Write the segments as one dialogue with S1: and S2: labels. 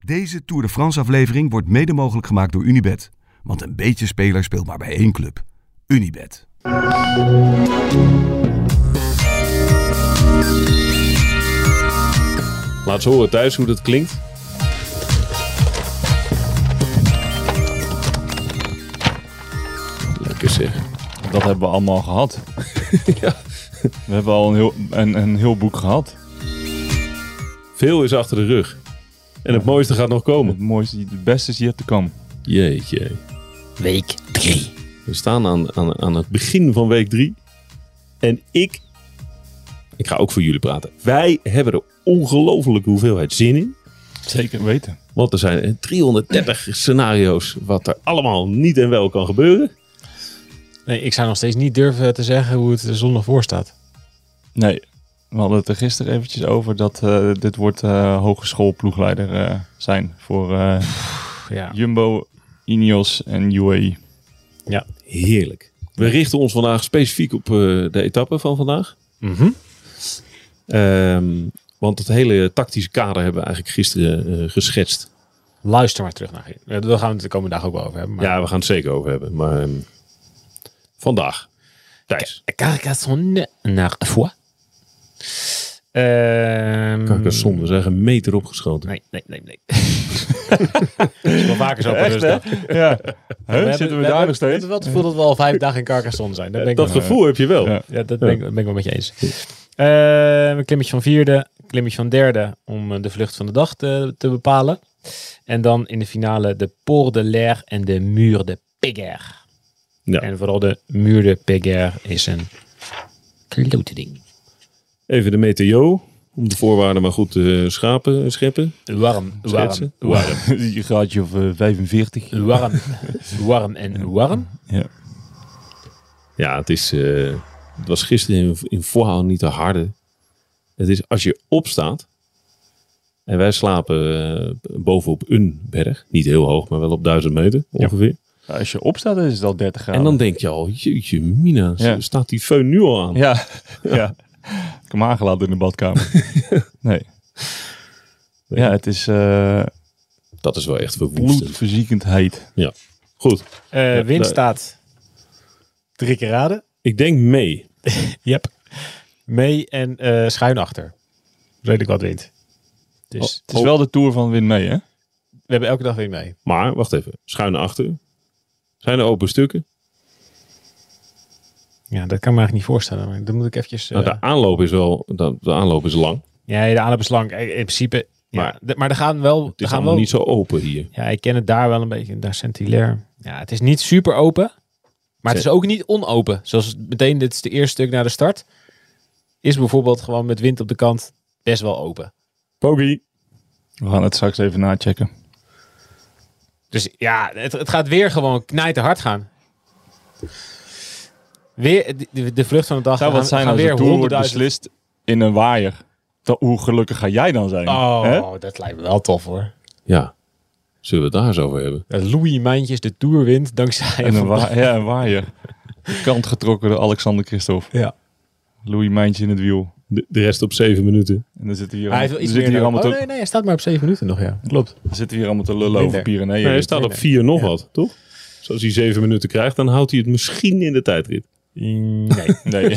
S1: Deze Tour de France aflevering wordt mede mogelijk gemaakt door Unibet. Want een beetje speler speelt maar bij één club. Unibet.
S2: Laat ze horen thuis hoe dat klinkt. Lekker zeg.
S3: Dat hebben we allemaal gehad. We hebben al een heel, een, een heel boek gehad.
S2: Veel is achter de rug. En het mooiste gaat nog komen.
S3: Het mooiste, het beste is hier te komen.
S2: Jeetje.
S4: Week 3.
S2: We staan aan, aan, aan het begin van week drie. En ik... Ik ga ook voor jullie praten. Wij hebben er ongelofelijke hoeveelheid zin in.
S3: Zeker weten.
S2: Want er zijn 330 scenario's wat er allemaal niet en wel kan gebeuren.
S4: Nee, ik zou nog steeds niet durven te zeggen hoe het er zondag voor staat.
S3: Nee, we hadden het er gisteren eventjes over dat eh, dit wordt eh, hogeschoolploegleider eh, zijn voor eh,
S4: Ja.
S3: Jumbo, Ineos en E. UAE.
S2: Heerlijk. We richten ons vandaag specifiek op eh, de etappe van vandaag.
S4: Mhm.
S2: Ehm, want het hele tactische kader hebben we eigenlijk gisteren eh, geschetst.
S4: Luister maar terug naar je. Eh, Daar gaan we het de komende dag ook wel over hebben. Maar...
S2: Ja, we gaan het zeker over hebben. Maar ehm, vandaag. Thijs.
S4: Carcassonne naar Foix. Ehm,
S2: Carcassonne, we zijn een meter opgeschoten.
S4: Nee, nee, nee, nee. Dat is wel vaker zo op
S3: Echt, hè?
S4: rustig.
S3: Ja. Huh? Zitten we daar nog
S4: Ik
S3: steeds?
S4: heb wel het gevoel dat we al vijf dagen in Carcassonne zijn. Dat, ben ik eh,
S2: dat
S4: wel-
S2: gevoel heb je wel.
S3: Ja.
S4: Ja, dat ben, ik, dat ben ik wel met je eens. Eh, een klimmetje van vierde, een klimmetje van derde om eh, de vlucht van de dag te, te bepalen. En dan in de finale de Port de l'Air en de Muur de Péguerre.
S2: Ja.
S4: En vooral de Muur de Péguerre is een klote ding.
S2: Even de meteo. Om de voorwaarden maar goed te eh, schapen, scheppen.
S4: Warm, warm,
S2: Schetsen. Warm.
S3: Je graadje of eh, 45.
S4: warm, warm en warm.
S3: Ja.
S2: Ja, het, is, eh, het was gisteren in, in Voorhout niet te harde. Het is als je opstaat. En wij slapen eh, bovenop een berg. Niet heel hoog, maar wel op duizend meter ongeveer.
S3: Als je opstaat is het al 30 graden.
S2: En dan denk je al, jeetje mina,
S3: Ja.
S2: staat die föhn nu al aan?
S3: Ja. ja. Ik heb hem aangelaten in de badkamer. nee. Ja, het is eh
S2: Dat is wel echt verwoestend.
S3: bloedverziekend
S4: Oh,
S3: heet.
S2: Goed,
S4: Eh wind
S2: daar-
S4: staat drie keer raden.
S2: ik denk mee.
S4: Yep. Mee en eh, schuin achter. Redelijk wat wind. Dus
S3: Het is wel de tour van Win mee, hè?
S4: we hebben elke dag wind mee.
S2: Maar, wacht even, schuin naar achter. Zijn er open stukken?
S4: Ja, dat kan me eigenlijk niet voorstellen. Maar dan moet ik eventjes... eh,
S2: Nou, de aanloop is wel, de, de aanloop is lang.
S4: Ja, de aanloop is lang. Eh, In principe... Maar,
S2: Maar-
S4: ja, d- maar er gaan wel...
S2: Het is
S4: er gaan
S2: allemaal
S4: wel
S2: niet zo open hier.
S4: Ja, ik ken het daar wel een beetje. Daar Saint-Hilaire. Ja, het is niet super open. Maar het is ook niet onopen. Zoals meteen, dit is de eerste stuk naar de start. Is bijvoorbeeld gewoon met wind op de kant best wel open.
S2: Pogi.
S3: We gaan het straks even nachecken.
S4: Dus ja, het, het gaat weer gewoon knijten hard gaan. Weer de- de, de vlucht van de dag.
S3: Zou
S4: We
S3: wat
S4: gaan-
S3: zijn
S4: gaan
S3: als de tour wordt
S4: honderdduizend-
S3: beslist in een waaier? Dat, hoe gelukkig ga jij dan zijn? hè?
S4: Oh, dat lijkt me wel tof hoor.
S2: Ja, zullen we het daar eens over hebben?
S4: Dat Eh, Louis Mijntjes de Tour wint dankzij
S3: En
S4: Van
S3: een, wa- ja, een waaier. De kant getrokken door Alexander Christophe.
S4: Ja.
S3: Louis Mijntje in het wiel.
S2: De, de rest op zeven minuten.
S3: En dan zitten hier,
S4: Hij
S3: al-
S4: heeft wel iets
S3: er
S4: meer
S3: zitten hier, allemaal,
S4: nodig. Oh,
S3: te,
S4: nee, nee, hij staat maar op 7 minuten nog, ja. Klopt.
S3: er zitten hier allemaal te lullen
S4: Minder.
S3: over Pyreneeën.
S2: Nee, hij staat op vier nog wat, toch? Dus als hij zeven minuten krijgt, dan houdt hij het misschien in de tijdrit.
S4: Nee.
S3: Nee.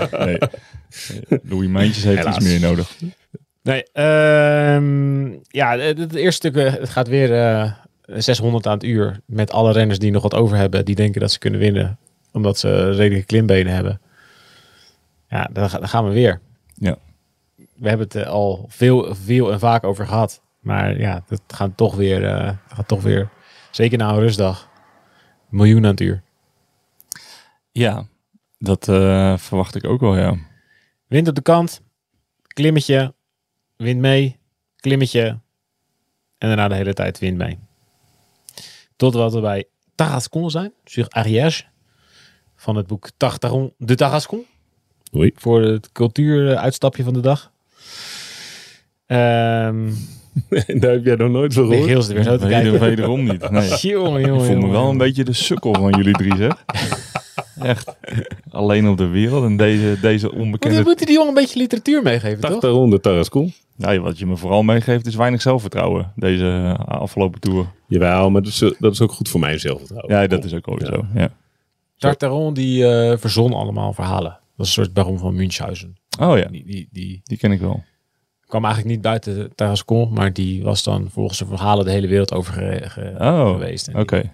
S3: nee. Louis Mijntjes heeft
S2: Helaas.
S3: iets meer nodig.
S4: nee ehm, ja, het, het eerste stuk eh, het gaat weer eh, 600 aan het uur. Met alle renners die nog wat over hebben. Die denken dat ze kunnen winnen. Omdat ze redelijke klimbenen hebben. Ja, dan, ga- dan gaan we weer.
S3: Ja.
S4: We hebben het eh, al veel, veel en vaak over gehad. Maar ja, dat gaat toch weer. eh, gaat toch weer zeker na een rustdag. Miljoen aan het uur.
S3: Ja, dat eh, verwacht ik ook wel, ja.
S4: Wind op de kant. Klimmetje. Wind mee. Klimmetje. En daarna de hele tijd wind mee. Tot wat we bij Tarascon zijn. Sur Ariège. Van het boek Tartaron de Tarascon.
S2: Oei.
S4: Voor het cultuuruitstapje van de dag. Ehm
S2: En daar heb jij nog nooit van
S4: lig
S2: gehoord.
S4: heel ze er weer zo te
S3: Weder,
S4: kijken.
S3: wederom niet. Nee.
S4: Jongen,
S3: Ik
S4: jongen,
S3: voel me
S4: jongen.
S3: wel een beetje de sukkel van jullie drie, zeg. Echt. Alleen op de wereld en deze, deze
S4: Want we
S3: onbekende...
S4: moeten die jongen een beetje literatuur meegeven, toch?
S2: 80 ronden Tarascon.
S3: Nou, wat je me vooral meegeeft is weinig zelfvertrouwen. Deze eh, afgelopen tour.
S2: Jawel, maar dat is, dat is ook goed voor mijzelf. trouwens.
S3: Ja, dat is ook alweer
S2: Ja.
S3: zo. Ja.
S4: Tartaron die eh, verzon allemaal verhalen. Dat was een soort baron van Münchhausen.
S3: Oh ja,
S4: Die, die, die
S3: die ken ik wel.
S4: kwam eigenlijk niet buiten Tarascon, maar die was dan volgens zijn verhalen de hele wereld over ge- ge-
S3: Oh,
S4: geweest. En
S3: Oké.
S4: die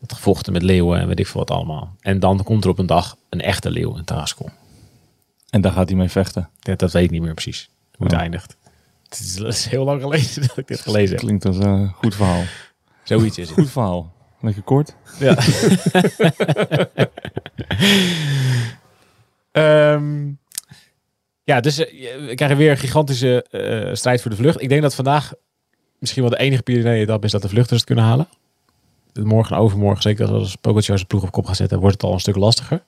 S4: had gevochten met leeuwen en weet ik veel wat allemaal. En dan komt er op een dag een echte leeuw in Tarascon.
S3: En daar gaat hij mee vechten.
S4: Dat, dat weet ik niet meer precies hoe het
S3: Oh.
S4: eindigt. Het is, het is heel lang geleden dat ik dit gelezen heb.
S3: Klinkt als een goed verhaal.
S4: Zoiets is het.
S3: Goed verhaal. Lekker kort.
S4: Ja. Ehm, ja, dus eh, je- we krijgen weer een gigantische eh, strijd voor de vlucht. Ik denk dat vandaag misschien wel de enige Pyrenee-etap is dat de vluchters het kunnen halen. Morgen en overmorgen, zeker als Pogacar zijn ploeg op kop gaat zetten, wordt het al een stuk lastiger.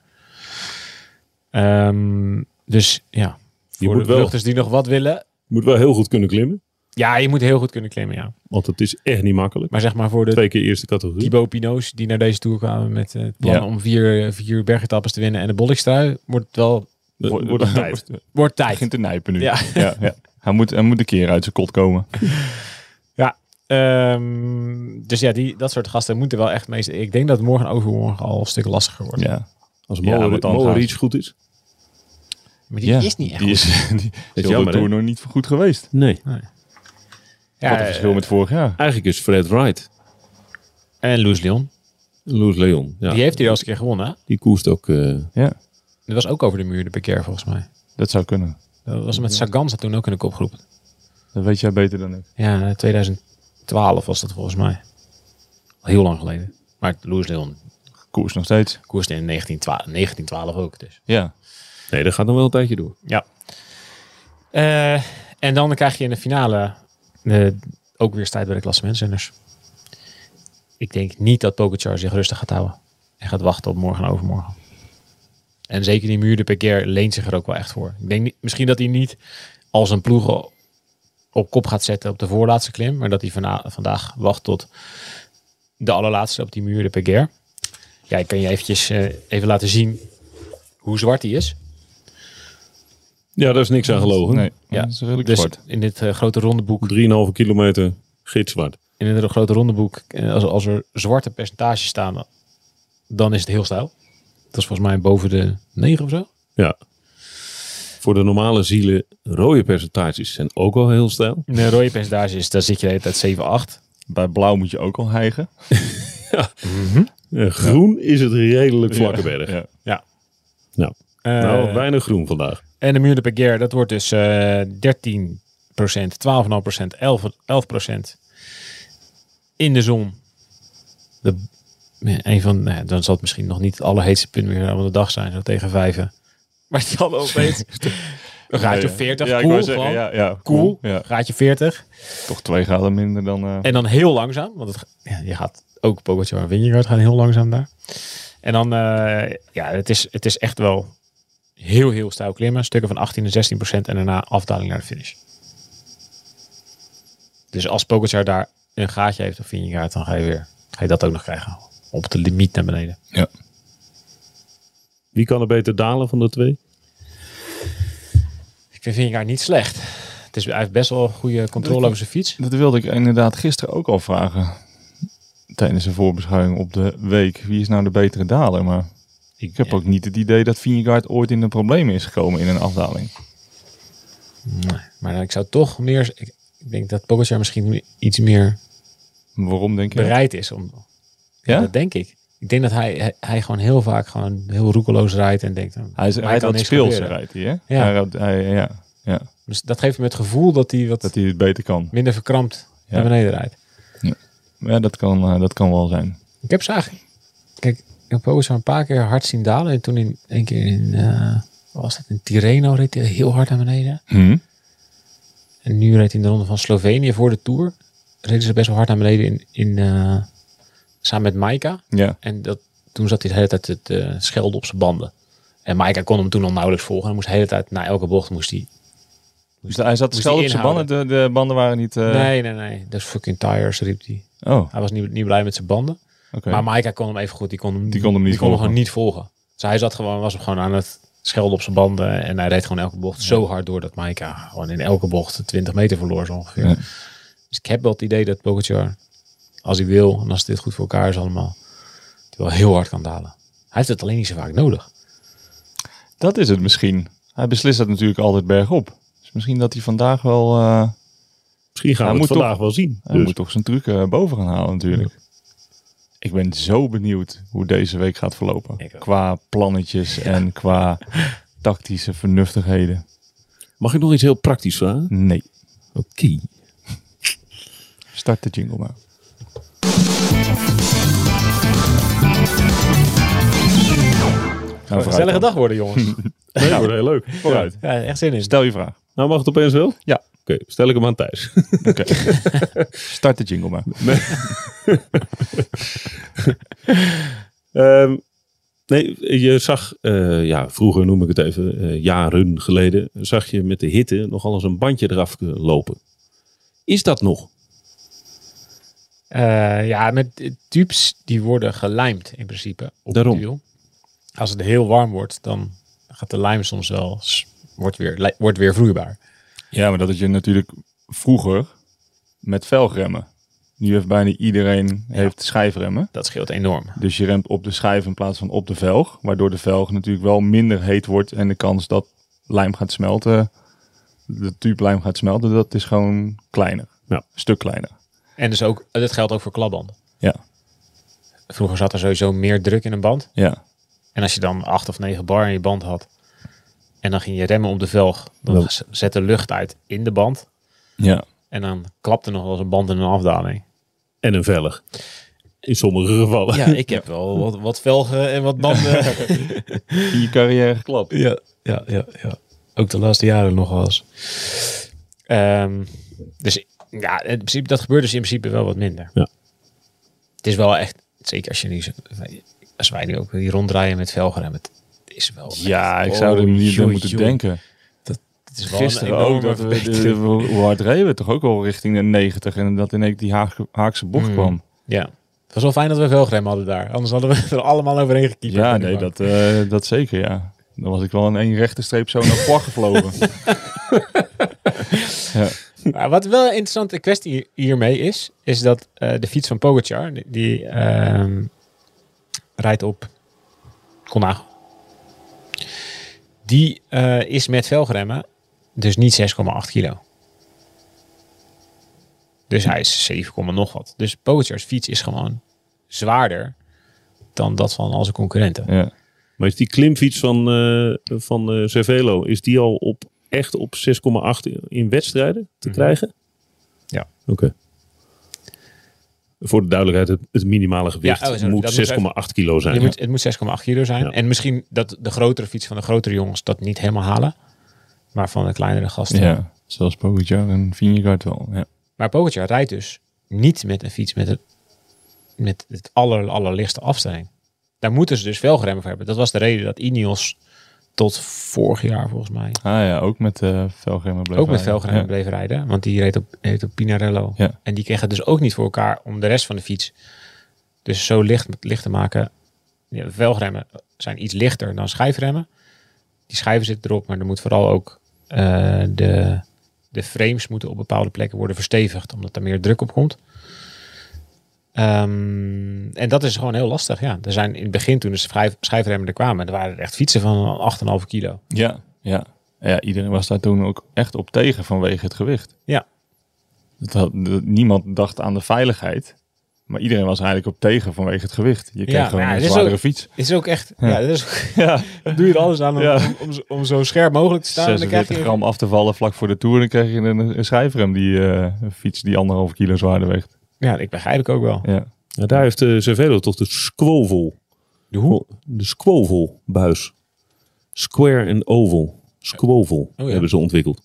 S4: Ehm, dus ja,
S2: Je
S4: voor
S2: moet
S4: de
S2: wel,
S4: vluchters die nog wat willen.
S2: moet wel heel goed kunnen klimmen.
S4: Ja, je moet heel goed kunnen klimmen, ja.
S2: Want het is echt niet makkelijk.
S4: Maar zeg maar voor de
S2: Twee keer eerste categorie.
S4: Thibaut Pino's die naar deze tour kwamen met eh, het plan
S3: Ja.
S4: om vier, vier bergetappes te winnen en de bollikstrui, wordt het wel
S2: Dat Wordt het Eh, tijd.
S4: wordt tijd.
S3: Begint te nijpen nu.
S4: Ja.
S3: Ja, ja. Hij, moet, hij moet een keer uit zijn kot komen.
S4: Ehm, dus ja, die, dat soort gasten moeten wel echt mee. Ik denk dat morgen en overmorgen al een stuk lastiger wordt.
S3: Ja.
S2: Als
S3: Ja,
S2: Molen
S3: want dan
S2: Molen
S3: gaat-
S2: Reach goed is.
S4: Maar die
S3: Ja.
S4: is niet echt.
S3: Die is, die is heel de
S2: jammer, hè?
S3: tour nog niet voor goed geweest.
S2: Nee.
S4: Ja,
S3: Wat een verschil
S4: eh,
S3: met vorig jaar.
S2: Eigenlijk is Fred Wright,
S4: En Loes Leon.
S2: Loes Leon. Ja,
S4: Die heeft hier al eens een keer gewonnen. hè?
S2: die koerst ook. eh,
S3: Ja,
S4: Dat was ook over de muur de Beker volgens mij.
S3: dat zou kunnen.
S4: Dat was met Sagan zat toen ook in de kopgroep.
S3: Dat weet jij beter dan ik.
S4: Ja, 2012 was dat volgens mij. Al heel lang geleden. Maar Loes Leon
S3: Koers nog steeds.
S4: koerste in 1912, 1912 ook dus.
S3: Ja.
S2: nee, dat gaat nog wel een tijdje door.
S4: Ja. Eh, en dan krijg je in de finale eh, ook weer strijd bij de klassementsrenners. Ik denk niet dat Pogacar zich rustig gaat houden. En gaat wachten op morgen en overmorgen. En zeker die muur de Peker leent zich er ook wel echt voor. Ik denk niet, misschien dat hij niet als een ploeg al op kop gaat zetten op de voorlaatste klim. Maar dat hij vana- vandaag wacht tot de allerlaatste op die muur de Peker. Ja, ik kan je eventjes eh, even laten zien hoe zwart hij is.
S2: Ja, daar is niks aan gelogen.
S3: Nee,
S4: Ja.
S3: dat is redelijk
S4: Dus
S3: zwart.
S4: in dit eh, grote rondeboek,
S2: 3,5 kilometer gitzwart.
S4: in dit grote rondeboek, eh, als, als er zwarte percentages staan, dan is het heel stijl. Dat is volgens mij boven de 9 of zo.
S2: Ja. Voor de normale zielen, rode percentages zijn ook wel heel stijl.
S4: Een rode percentage is, Dus daar zit je de hele tijd 7, 8.
S3: Bij blauw moet je ook al hijgen.
S2: Eh, groen is het redelijk vlakke berg.
S3: Ja.
S4: Ja.
S2: Nou,
S3: Eh,
S2: nou, weinig groen vandaag.
S4: en de Muur de Peguer, dat wordt dus eh 13 12,5 11, 11 in de zon. De, een van, nou ja, dan zal het misschien nog niet het allerheetste punt meer van de dag zijn, zo tegen vijven. Maar het zal opeens. Een gaatje
S3: Ja,
S4: op 40,
S3: ja, ik
S4: cool,
S3: wou zeggen,
S4: gewoon.
S3: ja, ja,
S4: Cool,
S3: Ja.
S4: gaatje 40.
S3: Toch twee graden minder dan... eh,
S4: En dan heel langzaam, want het, ja, je gaat ook Pogacar en Vingegaard gaan heel langzaam daar. En dan, eh, ja, het is, het is echt wel heel, heel stijl klimmen. Stukken van 18 en 16 procent en daarna afdaling naar de finish. Dus als Pogacar daar een gaatje heeft of Vingegaard, dan ga je weer, ga je dat ook nog krijgen. Op de limiet naar beneden.
S2: Wie kan er beter dalen van de twee?
S4: Ik vind Vingegaard niet slecht. Het is, hij heeft best wel goede controle over zijn fiets.
S3: Dat wilde ik inderdaad gisteren ook al vragen. Tijdens de voorbeschouwing op de week. Wie is nou de betere daler? Maar ik heb ook niet het idee dat Vingegaard ooit in de problemen is gekomen in een afdaling.
S4: Nee, maar ik zou toch meer... Ik, ik denk dat Pogacar misschien iets meer
S3: Waarom denk je? dat?
S4: bereid is om, Ja?
S3: Ja?
S4: Dat denk ik. Ik denk dat hij, hij, hij gewoon heel vaak gewoon heel roekeloos rijdt en denkt... nou,
S3: Hij is
S4: mij
S3: hij
S4: kan
S3: dat
S4: niks
S3: speels
S4: gebeuren.
S3: rijdt hij, hè?
S4: Ja.
S3: Hij rijdt- hij- ja, ja.
S4: Dus dat geeft hem het gevoel dat hij wat
S3: Dat hij het beter kan.
S4: minder verkrampt
S3: Ja.
S4: naar beneden rijdt.
S3: Maar Ja, dat kan, eh, dat kan wel zijn.
S4: Ik heb ze eigenlijk... Kijk, ik heb Pogacar een paar keer hard zien dalen. En toen in één keer in... eh, wat was dat? In Tirreno reed hij heel hard naar beneden.
S3: Hmm?
S4: En nu reed hij in de ronde van Slovenië voor de Tour. Reden ze best wel hard naar beneden in... in eh, samen met Maika.
S3: Ja.
S4: En dat, toen zat hij de hele tijd het eh, schelden op zijn banden. En Maaike kon hem toen al nauwelijks volgen. Hij moest de hele tijd, na elke bocht moest hij...
S3: Dus hij zat
S4: hij
S3: zelf op zijn banden.
S4: inhouden?
S3: De, de banden waren niet... eh,
S4: nee, nee, nee. Dat is fucking tires, riep hij.
S3: Oh, oké.
S4: Hij was niet, niet blij met zijn banden. Maar Maaike kon hem even goed. Die kon hem,
S3: Die kon hem niet
S4: die kon
S3: volgen.
S4: gewoon niet volgen. Dus hij zat gewoon, was hem gewoon aan het schelden op zijn banden. En hij reed gewoon elke bocht zo hard door dat Maika gewoon in elke bocht 20 meter verloor zo ongeveer.
S3: Ja.
S4: Dus ik heb wel het idee dat Pogacar, als hij wil en als dit goed voor elkaar is allemaal, het wel heel hard kan dalen. Hij heeft het alleen niet zo vaak nodig.
S3: Dat is het misschien. Hij beslist dat natuurlijk altijd bergop. Dus misschien dat hij vandaag wel... eh,
S2: Misschien gaan
S3: Hij
S2: we het
S3: moet
S2: vandaag wel zien.
S3: Hij
S2: Dus.
S3: moet toch zijn truc eh, boven gaan halen natuurlijk. Ik ben zo benieuwd hoe deze week gaat verlopen.
S4: Ik ook.
S3: Qua plannetjes en qua tactische vernuftigheden.
S2: Mag ik nog iets heel praktisch vragen?
S3: Nee,
S2: Oké.
S3: start de jingle maar. Gaan we vooruit
S4: Gezellige
S3: dan.
S4: dag worden jongens.
S2: Nee, wordt heel leuk. Vooruit.
S4: ja, echt zin in.
S3: Stel je vraag.
S2: Nou, mag het opeens wel?
S3: Ja.
S2: Oké, stel ik hem aan Thijs.
S3: Oké. start de jingle maar.
S2: Ehm, nee, je zag, eh, ja, vroeger noem ik het even, eh, jaren geleden, zag je met de hitte nogal eens een bandje eraf eh, lopen. Is dat nog?
S4: Eh, ja, met eh, tubes die worden gelijmd in principe. Op
S2: Daarom.
S4: het wiel. Als het heel warm wordt, dan gaat de lijm soms wel s- wordt weer, li- wordt weer vloeibaar.
S3: Ja, maar dat had je natuurlijk vroeger met velgremmen. Nu heeft bijna iedereen heeft schijfremmen.
S4: Dat scheelt enorm.
S3: Dus je remt op de schijf in plaats van op de velg. Waardoor de velg natuurlijk wel minder heet wordt. En de kans dat lijm gaat smelten, de tube lijm gaat smelten, dat is gewoon kleiner.
S2: Ja.
S3: Een stuk kleiner.
S4: En dus ook, dat geldt ook voor klapbanden.
S3: Ja,
S4: Vroeger zat er sowieso meer druk in een band.
S3: ja.
S4: En als je dan acht of negen bar in je band had. En dan ging je remmen op de velg. Dan
S2: Wel-
S4: z- zette lucht uit in de band.
S3: ja.
S4: En dan klapte nog wel eens een band in een afdaling.
S2: En een vellig. In sommige gevallen.
S4: Ja, ik heb wel wat, wat velgen en wat banden.
S3: In je carrière geklapt.
S4: Ja, ja, ja, ja. Ook de laatste jaren nog wel eens. Ehm, dus ja, in principe, dat gebeurt dus in principe wel wat minder.
S2: Ja.
S4: Het is wel echt, zeker als je nu, zo- als wij nu ook hier ronddraaien met velgrem, het is wel.
S3: Ja, ik
S4: echt-
S3: zou er
S4: oh,
S3: niet aan
S4: joe,
S3: moeten
S4: joe.
S3: denken.
S4: Het is wel een
S3: Gisteren ook,
S4: enorme
S3: dat we,
S4: verbetering.
S3: de- hoe hard reden we toch ook al richting de 90 en dat ineens die Haag- Haakse bocht
S4: Mm.
S3: kwam.
S4: Ja. Het was wel fijn dat we velgrem hadden daar. Anders hadden we er allemaal overheen gekiept.
S3: Ja, nee, dat, eh, dat zeker, ja. Dan was ik wel in één rechte streep zo naar voren gevlogen.
S4: Maar Nou, wat wel een interessante kwestie hier- hiermee is, is dat eh, de fiets van Pogacar, die, die, ehm, rijdt op Colnago. Die eh, is met velgremmen dus niet 6,8 kilo. Dus hij is 7, nog wat. Dus Pogacar's fiets is gewoon zwaarder dan dat van al zijn concurrenten.
S3: ja.
S2: Maar is die klimfiets van, eh, van eh, Cervelo, is die al op, echt op 6,8 in wedstrijden te
S4: Mhm.
S2: krijgen?
S4: Ja.
S2: Oké. Voor de duidelijkheid, het, het minimale gewicht
S4: Ja, oh, zo, dat
S2: moet
S4: moet
S2: 6,8 kilo zijn.
S4: Je moet, het moet 6,8 kilo zijn.
S2: Ja.
S4: En misschien dat de grotere fiets van de grotere jongens dat niet helemaal halen. Maar van de kleinere gasten.
S3: Ja, zoals Pogacar en Vingegaard wel. Ja.
S4: Maar Pogacar rijdt dus niet met een fiets met het, met het aller, allerlichtste afstelling. Daar moeten ze dus velgremmen voor hebben. Dat was de reden dat Ineos tot vorig jaar volgens mij
S3: Ah ja, ook met eh velgremmen bleef
S4: ook met
S3: rijden.
S4: velgremmen
S3: Ja.
S4: bleef rijden. Want die reed op, reed op Pinarello.
S3: Ja.
S4: En die kregen het dus ook niet voor elkaar om de rest van de fiets dus zo licht, licht te maken. Ja, velgremmen zijn iets lichter dan schijfremmen. Die schijven zitten erop, maar er moet vooral ook eh, de, de frames moeten op bepaalde plekken worden verstevigd, omdat daar meer druk op komt. Ehm, en dat is gewoon heel lastig. Ja. Er zijn in het begin, toen de schijf- schijfremmen er kwamen, er waren er echt fietsen van 8,5 kilo.
S3: Ja, ja. Ja, iedereen was daar toen ook echt op tegen vanwege het gewicht.
S4: Ja.
S3: Dat had, dat- niemand dacht aan de veiligheid. Maar iedereen was eigenlijk op tegen vanwege het gewicht. Je kreeg
S4: maar
S3: gewoon
S4: ja,
S3: een
S4: dit is
S3: zwaardere
S4: ook-
S3: fiets.
S4: Is ook echt. Ja, dat is ook-
S3: Ja,
S4: doe je er alles aan om,
S3: Ja.
S4: om, zo- om zo scherp mogelijk te staan. En dan krijg
S3: 46
S4: je
S3: gram af te vallen vlak voor de Tour. Dan kreeg je een, een schijfrem, die eh, een fiets die anderhalf kilo zwaarder weegt.
S4: Ja, ik begrijp ik ook wel.
S3: Ja.
S2: Ja, daar heeft eh Cervelo toch de squovel. De hoe? De squovelbuis. Square en oval. Squovel
S4: Oh, ja.
S2: hebben ze ontwikkeld.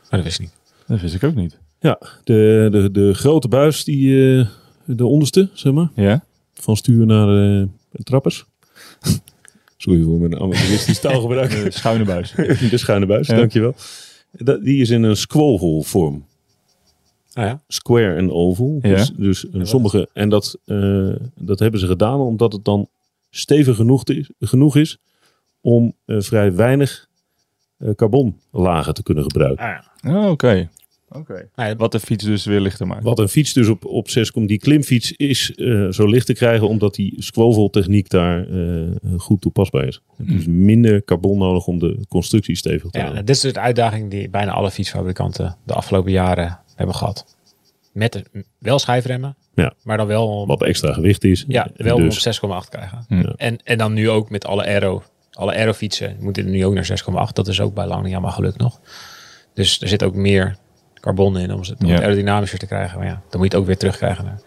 S4: Maar dat wist ik niet.
S3: Dat wist ik ook niet.
S2: Ja, de, de, de grote buis, die, eh, de onderste, zeg maar.
S3: Ja?
S2: Van stuur naar eh, trappers. Sorry voor mijn amateuristisch taalgebruik.
S3: De schuine buis.
S2: de schuine buis,
S3: Ja.
S2: dankjewel. Dat, die is in een squovel vorm.
S4: Ah, ja.
S2: square en oval.
S3: Ja.
S2: Dus, dus eh, sommige. En dat, eh, dat hebben ze gedaan omdat het dan stevig genoeg is, genoeg is om eh, vrij weinig eh, carbonlagen te kunnen gebruiken.
S4: Ah, ja.
S3: Oh, Oké.
S4: Nou ja,
S3: Wat de fiets dus weer lichter maakt.
S2: Wat een fiets dus op, op 6 komt, die klimfiets is eh, zo licht te krijgen omdat die squoval techniek daar eh, goed toepasbaar is. Dus
S3: Hmm.
S2: minder carbon nodig om de constructie stevig te
S4: ja,
S2: houden.
S4: dit is dus de uitdaging die bijna alle fietsfabrikanten de afgelopen jaren hebben gehad. Met de- wel schijfremmen,
S2: Ja.
S4: maar dan wel
S2: Wat extra gewicht is.
S4: Ja,
S2: En
S4: wel om
S2: dus,
S4: op 6,8 krijgen.
S3: Ja.
S4: En, en dan nu ook met alle aero. Alle aerofietsen moeten nu ook naar 6,8. Dat is ook bij lang niet allemaal gelukt nog. Dus er zit ook meer carbon in om ze- om het
S3: Ja.
S4: aerodynamischer te krijgen. Maar ja, dan moet je het ook weer terugkrijgen naar...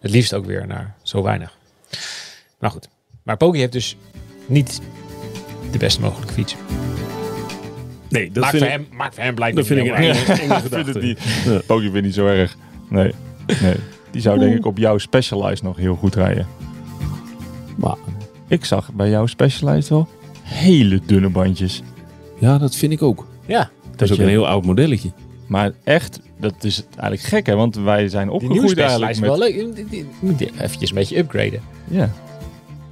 S4: Het liefst ook weer naar zo weinig. Maar goed. Maar Poki heeft dus niet de best mogelijke fiets.
S2: nee, dat
S4: Maakt
S2: vind
S4: voor,
S2: ik,
S4: hem, maakt voor hem blijkbaar
S2: dat vind ik
S4: niet
S2: een
S4: heel erg.
S2: enge, enge
S3: Ik vind
S2: gedachte.
S3: het niet. Pokey vind ik niet zo erg. Nee. nee. Die zou denk ik op jouw Specialized nog heel goed rijden.
S2: Maar,
S3: Ik zag bij jouw Specialized wel hele dunne bandjes.
S2: ja, dat vind ik ook.
S4: Ja,
S2: Dat is ook
S3: je-
S2: een heel oud modelletje.
S3: Maar echt, dat is eigenlijk gek hè. Want wij zijn
S4: die nieuwe
S3: opgegroeid
S4: special is
S3: eigenlijk
S4: wel
S3: met...
S4: leuk. Die- die- Moet je eventjes een beetje upgraden.
S3: Ja.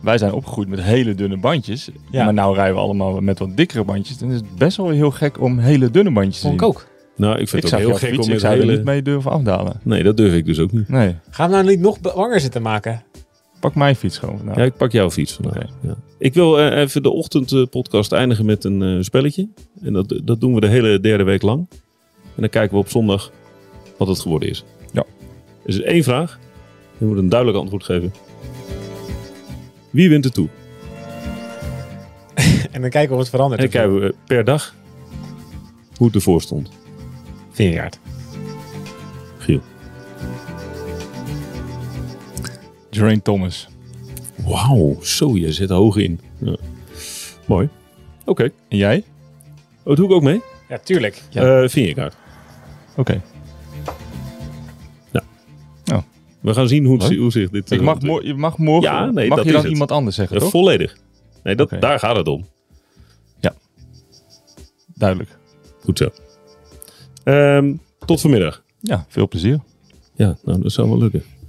S3: Wij zijn opgegroeid met hele dunne bandjes.
S4: Ja.
S3: Maar nou rijden we allemaal met wat dikkere bandjes. Dan is het best wel weer heel gek om hele dunne bandjes te
S4: Vond
S3: zien.
S4: ik ook.
S2: Nou, ik vind
S3: Ik
S2: het ook
S3: zag
S2: heel
S3: jouw
S2: gek
S3: fiets,
S2: om
S3: ik
S2: met
S3: zou er
S2: hele...
S3: niet mee durven afdalen.
S2: Nee, dat durf ik dus ook niet.
S3: Nee,
S4: Gaan we nou niet nog langer zitten maken?
S3: pak mijn fiets gewoon Nou, vandaag.
S2: Ja, ik pak jouw fiets vandaag. Ja. Ik wil eh, even de ochtendpodcast eindigen met een eh, spelletje. En dat, dat doen we de hele derde week lang. En dan kijken we op zondag wat het geworden is.
S3: Ja.
S2: Er is één vraag. Je moet een duidelijk antwoord geven. Wie wint er toe?
S4: En dan kijken of het verandert.
S2: En dan kijken we eh, per dag hoe het ervoor stond.
S4: Vineyard.
S2: Giel.
S3: Geraint Thomas.
S2: Wauw, zo je zit hoog in. Ja. Mooi. Oké.
S3: En jij?
S2: Oh, dat doe ik ook mee?
S4: Ja, tuurlijk.
S2: Eh vind je kaart.
S3: Oké.
S2: We gaan zien hoe, het,
S3: Leuk.
S2: hoe zich dit... eh,
S3: Ik mag, mo- je mag morgen.
S2: Ja, nee,
S3: mag
S2: dat
S3: je
S2: is
S3: dan
S2: het.
S3: iemand anders zeggen,
S2: Ja,
S3: toch?
S2: Eh, volledig. Nee, dat,
S3: Oké.
S2: daar gaat het om.
S3: Duidelijk.
S2: Goed zo. Ehm, tot vanmiddag.
S3: Ja, veel plezier.
S2: Ja, nou, dat zou wel lukken.